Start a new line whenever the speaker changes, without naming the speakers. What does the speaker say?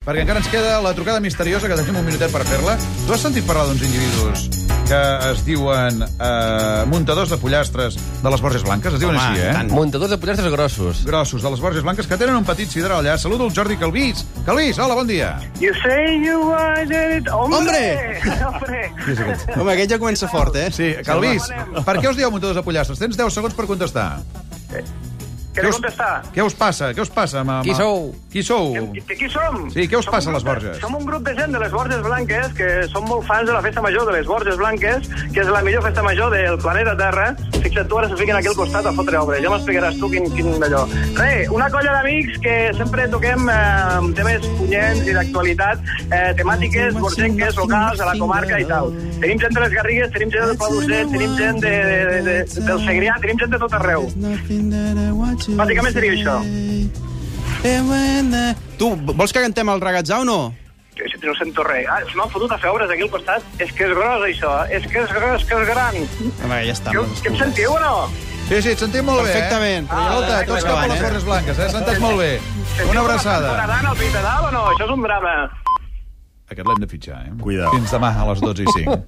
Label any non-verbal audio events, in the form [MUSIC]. Perquè encara ens queda la trucada misteriosa, que tenim un minutet per fer-la. Tu has sentit parlar d'uns individus que es diuen eh, muntadors de pollastres de les Borges Blanques? Es diuen
Home,
així, eh?
tant.
Muntadors de pollastres grossos.
Grossos, de les Borges Blanques, que tenen un petit sidral allà. Saludo el Jordi Calvís. Calvís, hola, bon dia.
You say you want it, hombre!
Hombre!
[LAUGHS] Hombre!
Qui és aquest?
Home, aquest ja comença fort, eh?
Sí, Calvís,
Saludem.
per què us dieu muntadors de pollastres? Tens 10 segons per contestar.
Què us... contestar?
Què us passa? Què us passa? Ma, ma...
Qui sou?
Qui sou?
De, de qui som?
Sí, què us
som
passa a
un
les
grup de-
Borges?
Som un grup de gent de les Borges Blanques que som molt fans de la festa major de les Borges Blanques, que és la millor festa major del planeta Terra. Fixa't tu, ara se fiquen a aquell costat a fotre obra. Ja m'explicaràs tu quin, quin d'allò. Re, una colla d'amics que sempre toquem eh, temes punyents i d'actualitat, eh, temàtiques borgenques, locals, a la comarca i tal. Tenim gent de les Garrigues, tenim gent del Pabuset, tenim gent de, de, de, del Segrià, tenim gent de tot arreu. Bàsicament seria això.
Tu, vols que cantem el ragatzà o no?
Jo si no sento res. Ah, m'han fotut a fer obres aquí al costat. És que és gros, això. És que és gros, que és gran.
Home, ja està.
Que,
no,
que em sentiu o no?
Sí, sí, et sentim molt
Perfectament.
bé. Eh? Escolta,
Ah,
tots cap a
endavant,
les
eh?
Borges Blanques, eh? S'ha entès molt bé. Una abraçada.
Una al pit de dalt o no? Això és un drama.
Aquest l'hem de fitxar, eh?
Cuidao.
Fins demà a les 12 i 5.